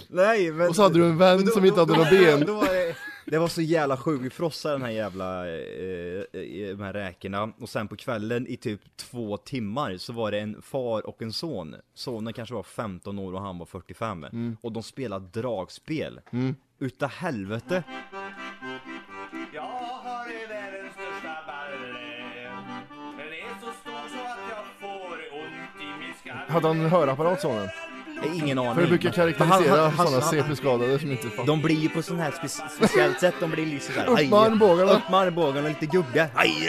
Speaker 6: Nej men...
Speaker 2: Och så hade du en vän som inte hade några ben.
Speaker 6: Då var det, Det var så jävla sjukt, vi frossade den här jävla, eh, eh, de här räkorna och sen på kvällen i typ två timmar så var det en far och en son Sonen kanske var 15 år och han var 45
Speaker 2: Mm.
Speaker 6: Och de spelade dragspel Utav helvete!
Speaker 7: Jag har i världens största balle. Den är så stor så att jag får ont i min skalle.
Speaker 2: Hade han en hörapparat sonen?
Speaker 6: Eh, Ingen aning!
Speaker 2: För det brukar karaktärisera
Speaker 6: han-
Speaker 2: sådana
Speaker 6: han-
Speaker 2: CP-skadade som inte fattar.
Speaker 6: De blir ju på sån här spe- speciellt sätt, de blir liksom såhär
Speaker 2: Upp med armbågarna.
Speaker 6: Upp med armbågarna, lite gubbiga Aj, aj,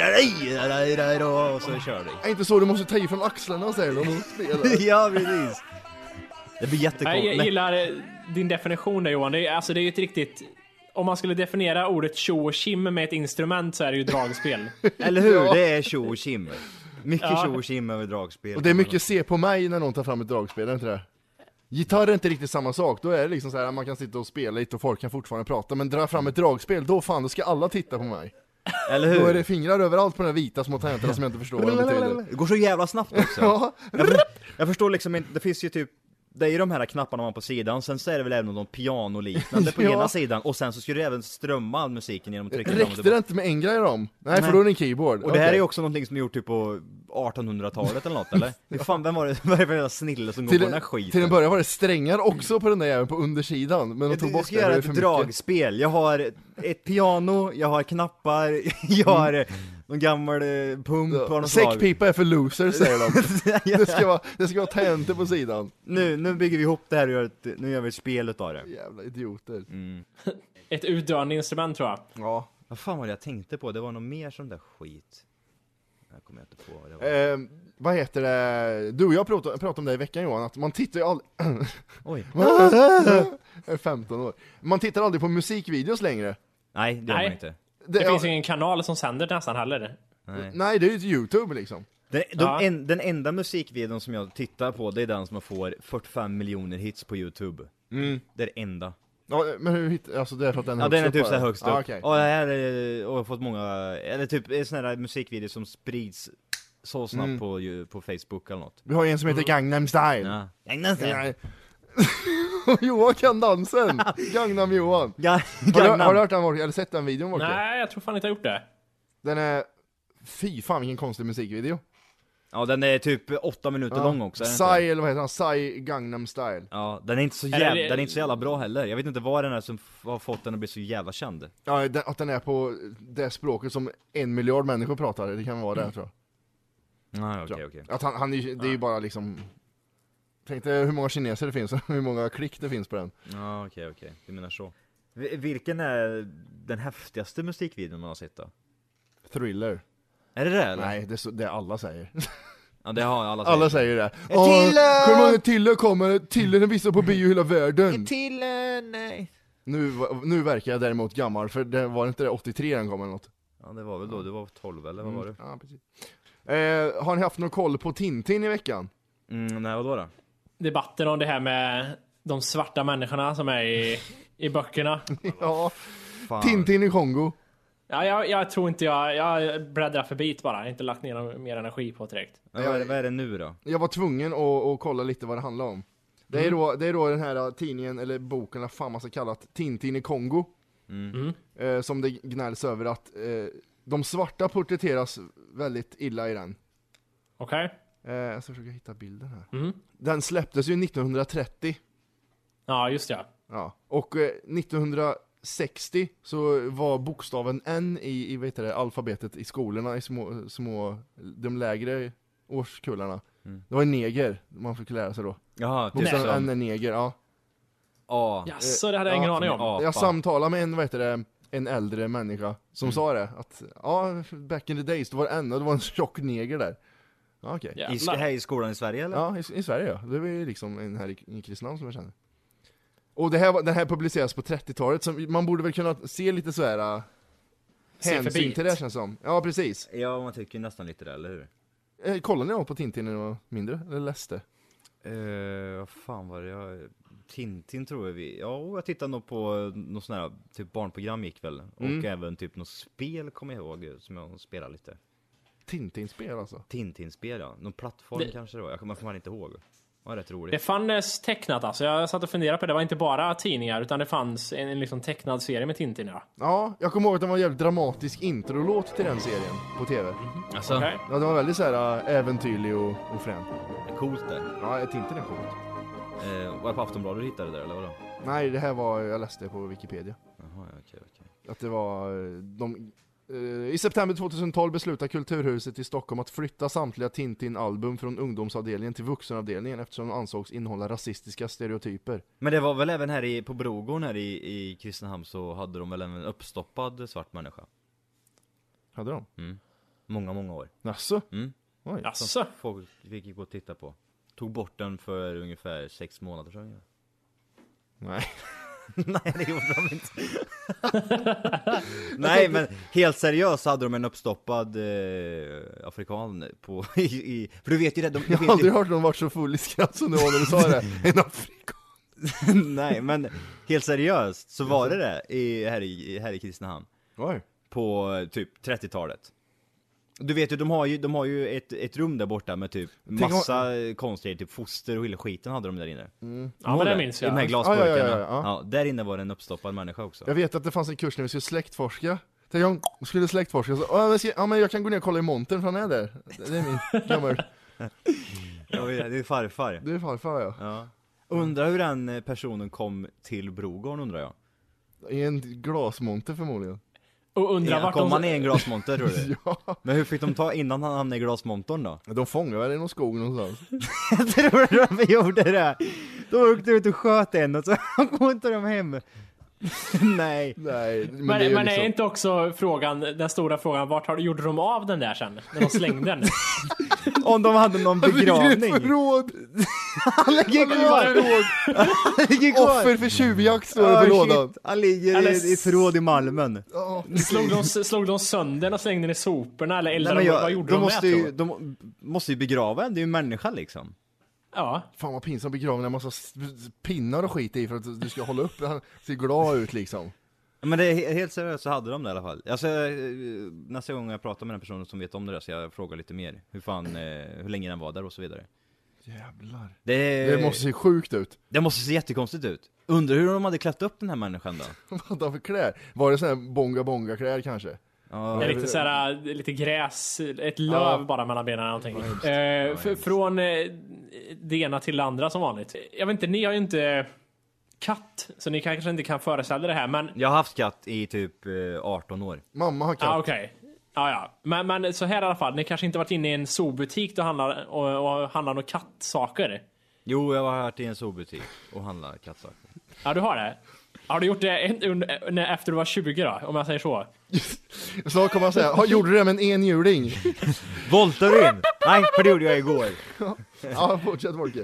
Speaker 6: aj, aj, aj, aj, Och så kör de
Speaker 2: Är inte så du måste ta i från axlarna säger de
Speaker 6: Mm.
Speaker 2: och spelar.
Speaker 6: Ja precis! Det blir
Speaker 3: Nej,
Speaker 6: jättekonstigt
Speaker 3: Jag gillar eh, din definition där Johan. Det är, alltså, det är ju ett riktigt... Om man skulle definiera ordet tjo och tjim med ett instrument så är det ju dragspel.
Speaker 6: Eller hur? Det är tjo och tjim. Mycket
Speaker 3: Ja.
Speaker 6: tjo och tjim över dragspel.
Speaker 2: Och det är mycket se på mig när någon tar fram ett dragspel, är det inte det? Gitarr är inte riktigt samma sak, då är det liksom så här man kan sitta och spela lite och folk kan fortfarande prata, men dra fram ett dragspel, då fan, då ska alla titta på mig.
Speaker 6: Eller
Speaker 2: Då är
Speaker 6: hur?
Speaker 2: det fingrar överallt på de här vita små tangenterna som jag inte förstår vad de betyder.
Speaker 6: Det går så jävla snabbt också.
Speaker 2: Ja,
Speaker 6: Jag, för, jag förstår liksom inte, det finns ju typ det är ju de här knapparna man har på sidan, sen så är det väl även någon pianoliknande på
Speaker 2: Ja.
Speaker 6: ena sidan och sen så skulle det även strömma all musiken genom att trycka fram och
Speaker 2: räckte det
Speaker 6: tillbaka.
Speaker 2: inte med en grej om? Nej,
Speaker 6: Nej.
Speaker 2: för då är det en keyboard.
Speaker 6: Och det här är ju också någonting som är gjort typ på 1800-talet eller något eller? Det är Fan vem var det, vad är det för jävla snille som går på den här
Speaker 2: till,
Speaker 6: skiten?
Speaker 2: till en början var det strängar också på den där jäveln på undersidan, men de tog
Speaker 6: Jag
Speaker 2: bort
Speaker 6: ska
Speaker 2: det, det
Speaker 6: göra
Speaker 2: var ju
Speaker 6: ett
Speaker 2: för mycket.
Speaker 6: dragspel, jag har ett piano, jag har knappar, jag har eh, någon gammal eh, pump av något slag.
Speaker 2: Säckpipa är för losers säger de. Det ska vara, det ska vara tangenter på sidan.
Speaker 6: Nu, nu bygger vi ihop det här och gör ett, nu gör vi ett spel utav det.
Speaker 2: Jävla idioter.
Speaker 6: Mm.
Speaker 3: Ett utdöende instrument tror jag.
Speaker 2: Ja.
Speaker 6: Vad fan var det jag tänkte på? Det var något mer sån där skit. Jag kommer inte på vad det var.
Speaker 2: Eh, vad heter det? Du och jag pratade, pratade om det i veckan Johan, att man tittar ju aldrig...
Speaker 6: Oj.
Speaker 2: Jag är 15 år. Man tittar aldrig på musikvideos längre.
Speaker 6: Nej, det gör
Speaker 3: Nej.
Speaker 6: man inte.
Speaker 2: Det,
Speaker 3: Det
Speaker 2: ja,
Speaker 3: finns ju ingen kanal som sänder nästan heller.
Speaker 2: Nej, det är ju Youtube liksom.
Speaker 6: Den, de
Speaker 3: Ja.
Speaker 6: en, den enda musikvideon som jag tittar på, det är den som får 45 miljoner hits på youtube. Det är det enda.
Speaker 2: Ja, men hur hittar... Alltså det är för att den är
Speaker 6: Ja Mm. den
Speaker 2: högst
Speaker 6: är typ
Speaker 2: upp
Speaker 6: såhär
Speaker 2: bara.
Speaker 6: högst upp.
Speaker 2: Ah, okej.
Speaker 6: Och det här är, eh, och jag har fått många, eller typ en sån här musikvideo som sprids så snabbt på, ju- på Facebook eller något.
Speaker 2: Vi har ju en som heter Gangnam style.
Speaker 6: Mm. Ja. Gangnam style!
Speaker 2: Nej. Johan kan dansen! Gangnam Johan.
Speaker 6: Ja,
Speaker 2: Har du, har du
Speaker 6: Gangnam!
Speaker 2: hört den, Volker? eller sett den videon Volker?
Speaker 3: Nej, jag tror fan inte jag har gjort det.
Speaker 2: Den är... Fy fan vilken konstig musikvideo.
Speaker 6: Ja den är typ åtta minuter lång också. är den inte det?
Speaker 2: Psy, eller vad heter han? Psy Gangnam style.
Speaker 6: Ja, den är inte så
Speaker 3: Är
Speaker 6: jävla,
Speaker 3: det-
Speaker 6: den är inte så jävla bra heller. Jag vet inte vad den är som f- har fått den att bli så jävla känd.
Speaker 2: Ja, den, att den är på det språket som en miljard människor pratar, det kan vara det tror jag.
Speaker 6: Mm. Nej,
Speaker 2: tror jag. Att han, han är, ju- det är ju bara liksom... Tänk dig hur många kineser det finns och hur många klick det finns på den.
Speaker 6: Ja, okej, okej. Du menar så. V- Vilken är den häftigaste musikvideon man har sett då?
Speaker 2: Thriller.
Speaker 6: Är det det eller?
Speaker 2: Nej, det är så, det alla säger.
Speaker 6: Ja, det har alla
Speaker 2: Alla säger det.
Speaker 6: Ett Thriller!
Speaker 2: Kommer ihåg när Tiller kommer? Tiller den visar på bio i hela världen!
Speaker 6: Till, eh, nej.
Speaker 2: Nu, va- nu verkar jag däremot gammal, för det var inte det 83 den kom eller något?
Speaker 6: Ja, Mm. det var väl då du var 12 eller vad var du?
Speaker 2: Ja, precis. Eh, har ni haft någon koll på Tintin i veckan?
Speaker 6: Mm, nej, vadå då?
Speaker 3: Debatten om det här med de svarta människorna som är i, i böckerna.
Speaker 2: Ja.
Speaker 6: Fan.
Speaker 2: Tintin i Kongo.
Speaker 3: Ja, jag, jag tror inte jag... Jag bläddrar förbi det bara. Jag har inte lagt ner någon mer energi på det direkt.
Speaker 6: Men vad, är det, vad är det nu då?
Speaker 2: jag var tvungen att, att kolla lite vad det handlar om. Det är, då, det är då den här tidningen, eller boken, eller fan man ska kalla det, Tintin i Kongo. Eh, som det gnälls över att eh, de svarta porträtteras väldigt illa i den.
Speaker 3: Okej?
Speaker 2: Eh, jag ska försöka hitta bilden här. Den släpptes ju 1930.
Speaker 3: Ja, just det.
Speaker 2: Ja. Och eh, 1960 så var bokstaven N i, i vad heter det, alfabetet i skolorna, i små, små de lägre årskullarna. Det var en neger man fick lära sig då.
Speaker 6: Jaha, typ
Speaker 2: Bokstaven N
Speaker 6: som
Speaker 2: är neger, ja.
Speaker 6: A.
Speaker 3: Jaså, det hade jag
Speaker 2: ja,
Speaker 3: ingen aning
Speaker 6: som är
Speaker 3: om.
Speaker 6: apa.
Speaker 2: Jag samtalade med en, vad heter det, en äldre människa som sa det, att ja, back in the days, då var det en, och det var en tjock neger där. Ja, okej.
Speaker 6: I, sk-
Speaker 3: Jävlar.
Speaker 6: här i skolan i Sverige eller?
Speaker 2: Ja, i, i Sverige ja. Det var ju liksom en här i, i Kristinehamn som jag känner. Och det här, var- den här publiceras på 30-talet, så man borde väl kunna se lite så här äh,
Speaker 3: Se
Speaker 2: hänsyn
Speaker 3: förbi.
Speaker 2: till det känns som. Ja, precis.
Speaker 6: Ja, man tycker nästan lite det, eller hur?
Speaker 2: Eh, kollade ni något på Tintin när ni var mindre? Eller läste?
Speaker 6: Eh, vad fan var det jag... Tintin tror jag vi... Ja, och jag tittade nog på något sån här, typ barnprogram gick väl. Och även typ något spel kommer jag ihåg, som jag spelade lite.
Speaker 2: Tintin-spel alltså?
Speaker 6: Tintin-spel ja, någon plattform
Speaker 3: Det-
Speaker 6: kanske det var, jag kommer fan inte ihåg. var rätt roligt.
Speaker 3: Det fanns tecknat alltså. Jag satt och funderade på det. Det var inte bara tidningar utan det fanns en, en liksom tecknad serie med Tintin. Ja.
Speaker 2: Ja, jag kommer ihåg att det var en jävligt dramatisk introlåt till den serien på TV.
Speaker 6: Alltså,
Speaker 3: Okej.
Speaker 2: Ja, den var väldigt såhär äventyrlig och, och frän.
Speaker 6: coolt det.
Speaker 2: Ja, Tintin är coolt.
Speaker 6: Eh, var det på Aftonbladet du hittade det där eller vadå?
Speaker 2: Nej, det här var, jag läste på Wikipedia.
Speaker 6: Jaha, ja, okej, okej.
Speaker 2: Att det var, eh, de, eh, I september 2012 beslutade Kulturhuset i Stockholm att flytta samtliga Tintin-album från ungdomsavdelningen till vuxenavdelningen eftersom de ansågs innehålla rasistiska stereotyper.
Speaker 6: Men det var väl även här i, på Brogården här i, i Kristinehamn så hade de väl en uppstoppad svart människa?
Speaker 2: Hade de?
Speaker 6: Många, många år.
Speaker 2: Jaså?
Speaker 6: Mm.
Speaker 2: Oj.
Speaker 3: Jaså?
Speaker 6: Folk fick ju gå och titta på. Tog bort den för ungefär sex månader sedan. ja.
Speaker 2: Nej.
Speaker 6: Nej det gjorde de inte. Nej men helt seriöst så hade de en uppstoppad eh, afrikan på, i, i, för du vet ju det, de,
Speaker 2: Jag
Speaker 6: det
Speaker 2: har
Speaker 6: finns ju-
Speaker 2: aldrig hört någon varit så full i skratt som du var när du sa det. En afrikan.
Speaker 6: Nej men helt seriöst så var det det i, här, i, här i Kristinehamn.
Speaker 2: Oj.
Speaker 6: på eh, typ 30-talet. Du vet ju, de har ju, de har ju ett, ett rum där borta med typ
Speaker 2: om-
Speaker 6: massa om... Mm. konstgrejer, typ foster och hela skiten hade de där inne.
Speaker 3: Ja, men det minns
Speaker 6: I de här
Speaker 3: jag.
Speaker 6: glasburkarna.
Speaker 2: Ja,
Speaker 6: Ja,
Speaker 2: ja, ja, ja, ja.
Speaker 6: där inne var det en uppstoppad människa också.
Speaker 2: Jag vet att det fanns en kurs när vi skulle släktforska. Tänk om vi skulle släktforska, så, "Ja, men ska- ja men jag kan gå ner och kolla i montern för han är där. Det det är min gammal,
Speaker 6: Ja, det är farfar.
Speaker 2: det är farfar ja.
Speaker 6: Ja. Undrar hur den eh, personen kom till Brogården undrar jag.
Speaker 2: I en glasmonter förmodligen.
Speaker 3: Och undrar
Speaker 6: Ja,
Speaker 3: vart
Speaker 6: kom
Speaker 3: de...
Speaker 6: han i en glasmonter tror du?
Speaker 2: Ja.
Speaker 6: Men hur fick de ta innan han hamnade i glasmontern då?
Speaker 2: De fångar väl i någon skog någonstans.
Speaker 6: tror du de gjorde det? De åkte ut och sköt en och så kom inte de hem. Nej.
Speaker 2: Nej, men,
Speaker 3: Men,
Speaker 2: det är ju
Speaker 3: men
Speaker 2: liksom...
Speaker 3: är inte också frågan, den stora frågan, vart har, gjorde de av den där sen? När de slängde den?
Speaker 6: Om de hade någon begravning.
Speaker 2: förråd!
Speaker 6: Han ligger kvar!
Speaker 2: Förråd!
Speaker 6: Han ligger
Speaker 2: Offer för tjuvjakt står det på lådan.
Speaker 6: Han ligger
Speaker 3: Eller
Speaker 6: i, i ett förråd i Malmen.
Speaker 2: Ja.
Speaker 3: slog, de, slog de sönder den och slängde den i soporna? Eller eldade de? Vad gjorde de,
Speaker 6: de, måste
Speaker 3: med
Speaker 6: ju,
Speaker 3: tror du?
Speaker 6: de måste ju begrava en, det är ju en människa liksom.
Speaker 3: Ja.
Speaker 2: Fan vad pinsamt begravning, en massa s- pinnar och skit i för att du ska hålla upp, han ser glad ut liksom.
Speaker 6: Men det, är he- helt seriöst så hade de det i alla fall. Alltså, eh, nästa gång jag pratar med den personen som vet om det där så jag frågar lite mer. Hur fan, eh, hur länge den var där och så vidare.
Speaker 2: Jävlar. Eh.
Speaker 6: Det,
Speaker 2: Det måste se sjukt ut.
Speaker 6: det måste se jättekonstigt ut. Undrar hur de hade klätt upp den här människan då?
Speaker 2: Vad hade han för kläder? Var det sån här bonga bonga kläder kanske?
Speaker 3: Det är lite, såhär, lite gräs, ett löv
Speaker 2: Ja.
Speaker 3: bara mellan benen eller någonting. Eh, f- från eh, det ena till det andra som vanligt. Jag vet inte, ni har ju inte katt, så ni kanske inte kan föreställa det här, men...
Speaker 6: Jag har haft katt i typ eh, 18 år.
Speaker 2: Mamma har katt.
Speaker 3: Ah, okej. Ah, ja. men, men så här i alla fall, ni kanske inte varit inne i en zoobutik och handlar, och, och handlar några kattsaker?
Speaker 6: Jo, jag har varit i en zoobutik och handlat kattsaker.
Speaker 3: Ja, du har det? Har du gjort det en- un- när- efter du var 20 då, om jag säger så?
Speaker 2: Så kommer han säga, "Ja, gjorde du det med en enhjuling?
Speaker 6: Voltar du in? Nej, för det gjorde jag igår.
Speaker 2: Ja, fortsätt Folke.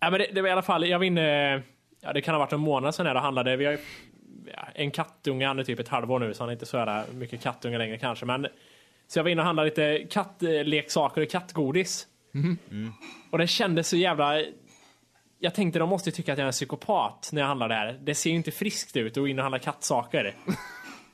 Speaker 3: Ja, men det, det var i alla fall, jag var inne, ja, det kan ha varit en månad sedan här och handlade. Vi har ju, ja, en kattunge, han är typ ett halvår nu så han är inte så jävla mycket kattunge längre kanske. Men, så jag var inne och handlade lite kattleksaker och kattgodis. Och det kändes så jävla... Jag tänkte de måste ju tycka att jag är en psykopat när jag handlar det här. Det ser ju inte friskt ut att gå in och handla kattsaker.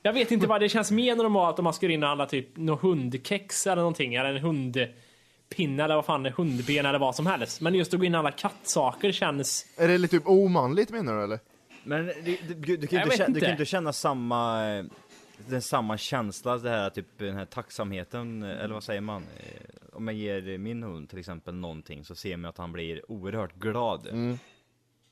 Speaker 3: Jag vet inte vad det känns mer normalt om man skulle in och handla typ något hundkex eller någonting. Eller en hundpinne eller vad fan det är, hundben eller vad som helst. Men just att gå in och handla kattsaker känns...
Speaker 2: Är det lite typ omanligt menar du eller?
Speaker 6: Men det- det- du, du, kan ju
Speaker 3: Jag
Speaker 6: inte
Speaker 3: vet
Speaker 6: känna, du kan
Speaker 3: inte.
Speaker 6: ju inte känna samma, eh, den samma känsla, det här, typ, den här tacksamheten, eh, eller vad säger man? Eh, Om jag ger min hund till exempel någonting så ser man att han blir oerhört glad.
Speaker 2: Mm.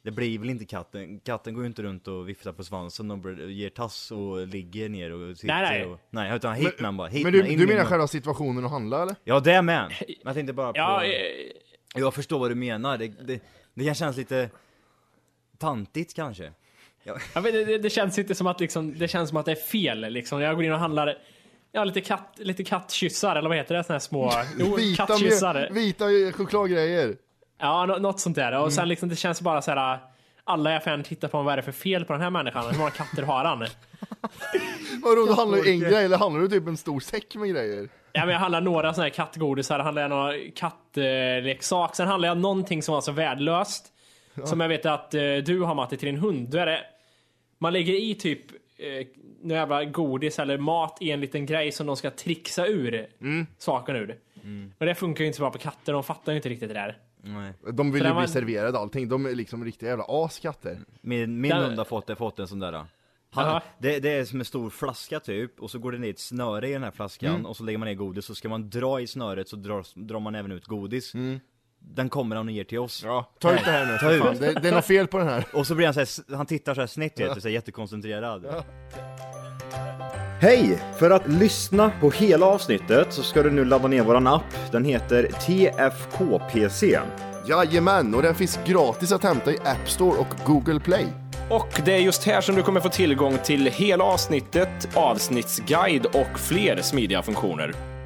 Speaker 6: Det blir väl inte katten, katten går ju inte runt och viftar på svansen och blir- ger tass och ligger ner och sitter
Speaker 3: nej.
Speaker 6: och... Nej, utan hit med han bara, hit
Speaker 2: Men
Speaker 6: med
Speaker 2: du,
Speaker 6: han, in
Speaker 2: du
Speaker 6: med
Speaker 2: menar
Speaker 6: han.
Speaker 2: själva situationen att handla eller?
Speaker 6: Ja, det med! Men jag tänkte bara på...
Speaker 3: Ja, eh,
Speaker 6: Jag förstår vad du menar, det, det, det kan kännas lite tantigt kanske.
Speaker 3: Jag vet, inte, det, det känns inte som att liksom, det känns som att det är fel liksom. Jag går in och handlar ja, lite, katt, lite kattkyssar eller vad heter det? Såna här små... Jo, kattkyssar.
Speaker 2: mjö- vita chokladgrejer.
Speaker 3: Ja, nå- något sånt där. Och sen liksom, det känns bara så här. Alla i affären tittar på mig, vad är det för fel på den här människan? Hur många katter har han?
Speaker 2: Vadå, du handlar du en grej eller handlar du typ en stor säck med grejer?
Speaker 3: Ja, men jag handlade några såna här kattgodisar, handlade jag några kattleksak. Sen handlade jag någonting som var så värdelöst. Som jag vet att eh, du har Matti till din hund. Då är det, man lägger i typ eh, någon jävla godis eller mat i en liten grej som de ska trixa ur saken ur. Och det funkar ju inte så bra på katter, de fattar ju inte riktigt det där.
Speaker 6: Nej.
Speaker 2: De vill
Speaker 3: För
Speaker 2: ju
Speaker 3: den
Speaker 2: bli
Speaker 3: var-
Speaker 2: serverade allting, de är liksom riktiga jävla askatter.
Speaker 6: Min, min
Speaker 3: Där-
Speaker 6: hund har fått, fått en sån där. Han,
Speaker 3: Jaha.
Speaker 6: det, det är som en stor flaska typ, och så går det ner ett snöre i den här flaskan,
Speaker 5: Mm.
Speaker 6: och så lägger man ner godis, så ska man dra i snöret så drar, drar man även ut godis.
Speaker 5: Mm.
Speaker 6: Den kommer han och ger till oss.
Speaker 2: Ja, ta ut det här nu
Speaker 6: Ta
Speaker 2: för
Speaker 6: ut.
Speaker 2: fan. Det, det är något fel på den här.
Speaker 6: Och så blir han så här, han tittar så här snett vet du, så här jättekoncentrerad.
Speaker 5: Hej! För att lyssna på hela avsnittet så ska du nu ladda ner våran app. Den heter TFKPC.
Speaker 2: Jajamän, och den finns gratis att hämta i App Store och Google Play.
Speaker 10: Och det är just här som du kommer få tillgång till hela avsnittet, avsnittsguide och fler smidiga funktioner.